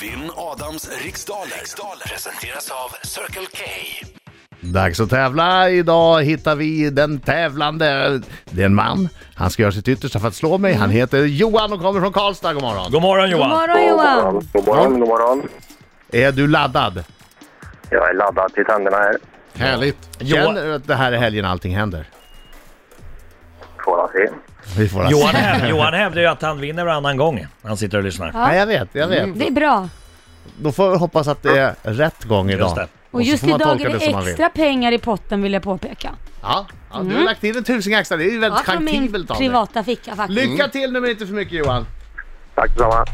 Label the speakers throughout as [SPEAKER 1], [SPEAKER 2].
[SPEAKER 1] Vinn Adams riksdaler. riksdaler presenteras av Circle K.
[SPEAKER 2] Dags att tävla. Idag hittar vi den tävlande. Det är en man. Han ska göra sitt yttersta för att slå mig. Han heter Johan och kommer från Karlstad. God morgon.
[SPEAKER 3] God morgon Johan!
[SPEAKER 4] Mm. God morgon Johan!
[SPEAKER 5] God morgon, god morgon.
[SPEAKER 2] Är du laddad?
[SPEAKER 5] Jag är laddad till tänderna här.
[SPEAKER 2] Härligt.
[SPEAKER 3] Johan-
[SPEAKER 2] Känner du att det här är helgen allting händer?
[SPEAKER 5] Får jag se.
[SPEAKER 2] Vi får alltså-
[SPEAKER 3] Johan, häv, Johan hävdar ju att han vinner varannan gång han sitter och lyssnar.
[SPEAKER 2] Ja, jag vet, jag vet.
[SPEAKER 4] Det är bra.
[SPEAKER 2] Då får vi hoppas att det är rätt gång idag.
[SPEAKER 3] Just det.
[SPEAKER 4] Och
[SPEAKER 2] så
[SPEAKER 4] just
[SPEAKER 2] får man
[SPEAKER 4] idag
[SPEAKER 2] tolka
[SPEAKER 4] är det
[SPEAKER 2] som man vill.
[SPEAKER 4] extra pengar i potten vill jag påpeka.
[SPEAKER 2] Ja, ja du har lagt in en tusing extra. Det är ju
[SPEAKER 4] Ja,
[SPEAKER 2] väldigt
[SPEAKER 4] från min Mm.
[SPEAKER 2] chankibelt av dig.
[SPEAKER 4] privata ficka faktiskt.
[SPEAKER 2] Lycka till nu men inte för mycket Johan.
[SPEAKER 5] Tack detsamma.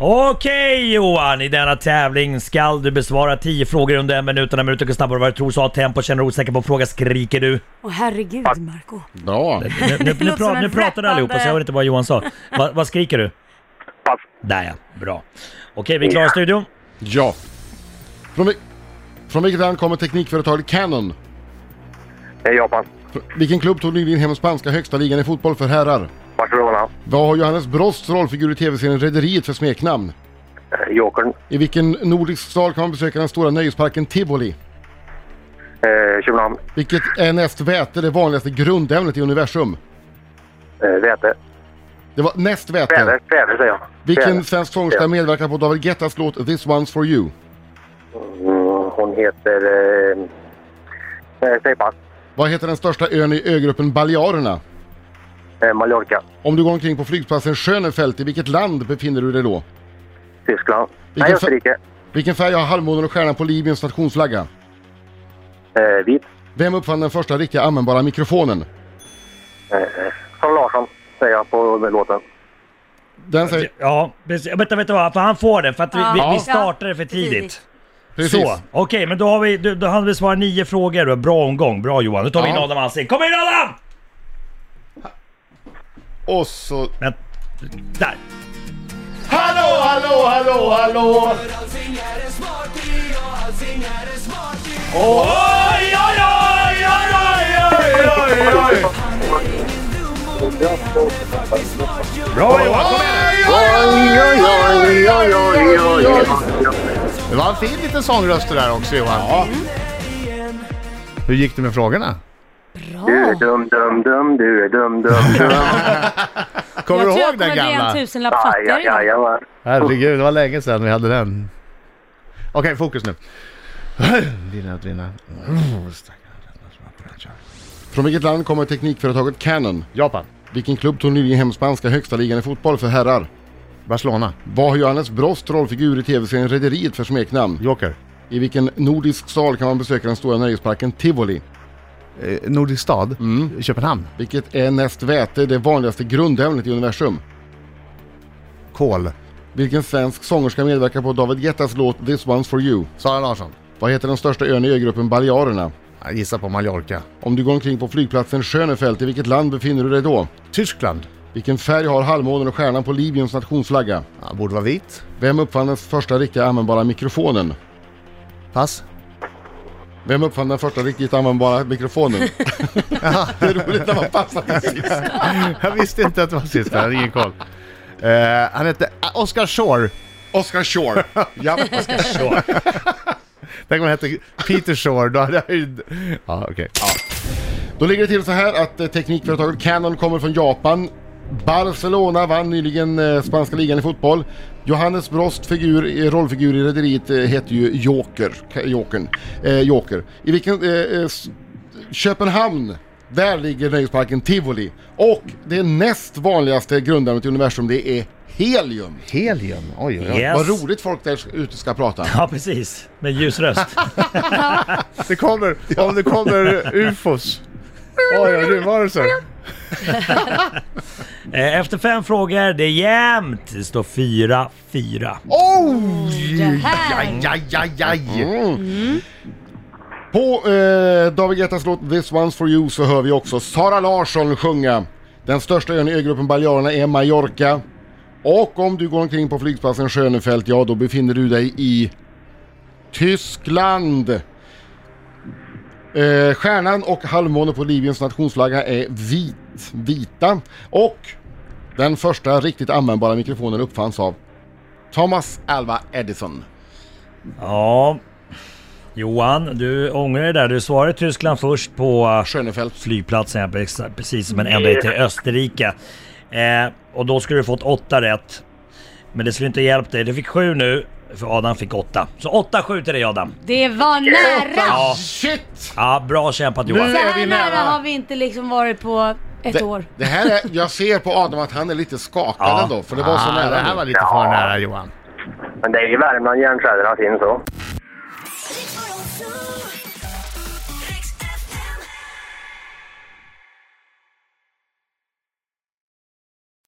[SPEAKER 3] Okej Johan, i denna tävling skall du besvara 10 frågor under en minut. Den här minuten går snabbare än vad du tror, så ha tempo. Känner du osäker på en fråga skriker du.
[SPEAKER 4] Åh herregud Marco.
[SPEAKER 6] Bra.
[SPEAKER 3] Nu, nu, nu,
[SPEAKER 4] låter som
[SPEAKER 3] pra,
[SPEAKER 4] en
[SPEAKER 3] nu pratade allihopa så jag hörde inte vad Johan sa. Va, vad skriker du?
[SPEAKER 5] Pass.
[SPEAKER 3] Där ja, bra. Okej, vi är klara i studion.
[SPEAKER 6] Ja. Från, vil- från vilket land kommer teknikföretaget Canon?
[SPEAKER 5] Det är Japan.
[SPEAKER 6] Fr- Vilken klubb tog nyligen hem spanska högsta ligan i fotboll för herrar?
[SPEAKER 5] Barcelona.
[SPEAKER 6] Vad har Johannes Brosts rollfigur i tv-serien Rederiet för smeknamn?
[SPEAKER 5] Eh, Jokern.
[SPEAKER 6] I vilken nordisk stad kan man besöka den stora nöjesparken Tivoli?
[SPEAKER 5] Eh, Köpenhamn.
[SPEAKER 6] Vilket är näst väte det vanligaste grundämnet i universum?
[SPEAKER 5] Eh, Väte.
[SPEAKER 6] Det var näst väte.
[SPEAKER 5] Kväve. Kväve säger jag.
[SPEAKER 6] Vilken
[SPEAKER 5] Kväve.
[SPEAKER 6] svensk sångerska medverkar på David Guettas låt This One's For You?
[SPEAKER 5] Mm, hon heter... Eh, eh, säg pass.
[SPEAKER 6] Vad heter den största ön i ögruppen Balearerna?
[SPEAKER 5] Eh, Mallorca.
[SPEAKER 6] Om du går omkring på flygplatsen Schönefeld, i vilket land befinner du dig då?
[SPEAKER 5] Tyskland. Nej,
[SPEAKER 6] Vilken fa-
[SPEAKER 5] Österrike.
[SPEAKER 6] Vilken färg har halvmånen och stjärnan på Libyens nationsflagga?
[SPEAKER 5] Eh, vit.
[SPEAKER 6] Vem uppfann den första riktiga användbara mikrofonen?
[SPEAKER 5] Carl Larsson säger jag på låten.
[SPEAKER 6] Den säger...
[SPEAKER 3] Ja, precis. Vänta, vet du vad? För han får det för att vi, vi, vi
[SPEAKER 4] Ja.
[SPEAKER 3] startade för tidigt.
[SPEAKER 6] Precis.
[SPEAKER 3] Så, okej, men då har vi, du, då har vi besvarat nio frågor. då. Bra omgång, bra Johan. Nu tar vi
[SPEAKER 6] Ja.
[SPEAKER 3] in Adam Alsing. Kom in Adam!
[SPEAKER 6] Och så...
[SPEAKER 3] Men, där.
[SPEAKER 6] Hallå, hallå, hallå, hallå!
[SPEAKER 3] Oj, oj, oj, oj, oj, oj, oj, oj. Bra Johan, kom igen!
[SPEAKER 2] Det var en fin liten sångröst det där också Johan. Hur gick det med frågorna?
[SPEAKER 5] Du är dum, dum, dum. Du är dum, dum, dum.
[SPEAKER 2] Kommer
[SPEAKER 4] jag
[SPEAKER 2] du
[SPEAKER 4] tror jag
[SPEAKER 2] ihåg
[SPEAKER 4] kommer
[SPEAKER 2] den
[SPEAKER 4] bli en
[SPEAKER 2] gamla?
[SPEAKER 4] tusenlapp
[SPEAKER 5] Aj,
[SPEAKER 4] fattigare
[SPEAKER 5] aj, aj,
[SPEAKER 4] idag.
[SPEAKER 5] aj.
[SPEAKER 2] Herregud, det var länge sedan vi hade den. Okej, fokus nu. Dina, dina.
[SPEAKER 6] Från vilket land kommer teknikföretaget Canon?
[SPEAKER 2] Japan,
[SPEAKER 6] Vilken klubb tog nyligen hem spanska högsta ligan i fotboll för herrar?
[SPEAKER 2] Barcelona,
[SPEAKER 6] Vad har Johannes Brost rollfigur i tv-serien Rederiet för smeknamn?
[SPEAKER 2] Joker,
[SPEAKER 6] I vilken nordisk stad kan man besöka den stora nöjesparken Tivoli?
[SPEAKER 2] eh, Nordisk stad, Köpenhamn,
[SPEAKER 6] Vilket är näst väte det vanligaste grundämnet i universum?
[SPEAKER 2] Kol,
[SPEAKER 6] Vilken svensk sångerska medverkar på David Guettas låt This One's For You?
[SPEAKER 2] Sara Larsson.
[SPEAKER 6] Vad heter den största ön i ögruppen Balearerna?
[SPEAKER 2] Jag gissar på Mallorca.
[SPEAKER 6] Om du går omkring på flygplatsen Schönefeld, i vilket land befinner du dig då?
[SPEAKER 2] Tyskland,
[SPEAKER 6] Vilken färg har halvmånen och stjärnan på Libyens nationsflagga?
[SPEAKER 2] ja, borde vara vit.
[SPEAKER 6] Vem uppfann den första riktiga användbara mikrofonen?
[SPEAKER 2] Pass.
[SPEAKER 6] Vem uppfann den första riktigt användbara mikrofonen? det är roligt när man passar till sist.
[SPEAKER 2] Jag visste inte att det var sist, jag hade ingen koll. Eh, han hette Oscar Shore.
[SPEAKER 6] Oscar Shore. Ja, Oscar Shore.
[SPEAKER 2] Tänk om han hette Peter Shore, då hade jag ju... Ja, okej.
[SPEAKER 6] Då ligger det till så här att eh, teknikföretaget Canon kommer från Japan. Barcelona vann nyligen eh, spanska ligan i fotboll. Johannes Brost figur, eh, rollfigur i Rederiet eh, heter ju Joker. Ka- Jokern. Eh, Joker. I vilken... Eh, eh, s- Köpenhamn. Där ligger nöjesparken Tivoli. Och det näst vanligaste grundämnet i universum det är helium.
[SPEAKER 2] Helium, oj oj oj.
[SPEAKER 3] Yes.
[SPEAKER 6] Vad roligt folk där ute ska prata.
[SPEAKER 3] Ja, precis. Med ljus röst.
[SPEAKER 2] Det kommer, om det kommer ufos. Oj, oj, rymdvarelser.
[SPEAKER 3] Eh, Efter fem frågor, det är jämnt. Det står 4-4.
[SPEAKER 2] Oj!
[SPEAKER 4] Det här.
[SPEAKER 2] Ajajajaj!
[SPEAKER 6] På eh, David Guettas låt This One's For You så hör vi också Sara Larsson sjunga. Den största ön i ögruppen Balearerna är Mallorca. Och om du går omkring på flygplatsen Schönefeld, ja då befinner du dig i Tyskland. Eh, stjärnan och halvmånen på Libyens nationsflagga är vit, vita. Och den första riktigt användbara mikrofonen uppfanns av Thomas Alva Edison.
[SPEAKER 3] Ja. Johan, du ångrar dig där. Du svarade Tyskland först på eh,
[SPEAKER 6] Schönefeld.
[SPEAKER 3] flygplatsen, ja, precis- precis men ända till Österrike. Eh, och då skulle du fått åtta rätt. Men det skulle inte hjälpt dig. Du fick sju nu, för Adam fick åtta. Så åtta sju till dig Adam.
[SPEAKER 4] Det var nära!
[SPEAKER 3] Ja.
[SPEAKER 6] Shit!
[SPEAKER 3] Ja, bra kämpat Johan.
[SPEAKER 4] Så
[SPEAKER 6] Nu är vi
[SPEAKER 4] här nära
[SPEAKER 6] nära.
[SPEAKER 4] har vi inte liksom varit på ett år.
[SPEAKER 6] Det, det här är, jag ser på Adam att han är lite skakad
[SPEAKER 3] Ja.
[SPEAKER 6] ändå, för det var så
[SPEAKER 2] Ah,
[SPEAKER 6] nära.
[SPEAKER 2] det här
[SPEAKER 6] nu.
[SPEAKER 2] var lite för nära Johan.
[SPEAKER 5] Men det är ju Värmland järnfjädrarna finns så.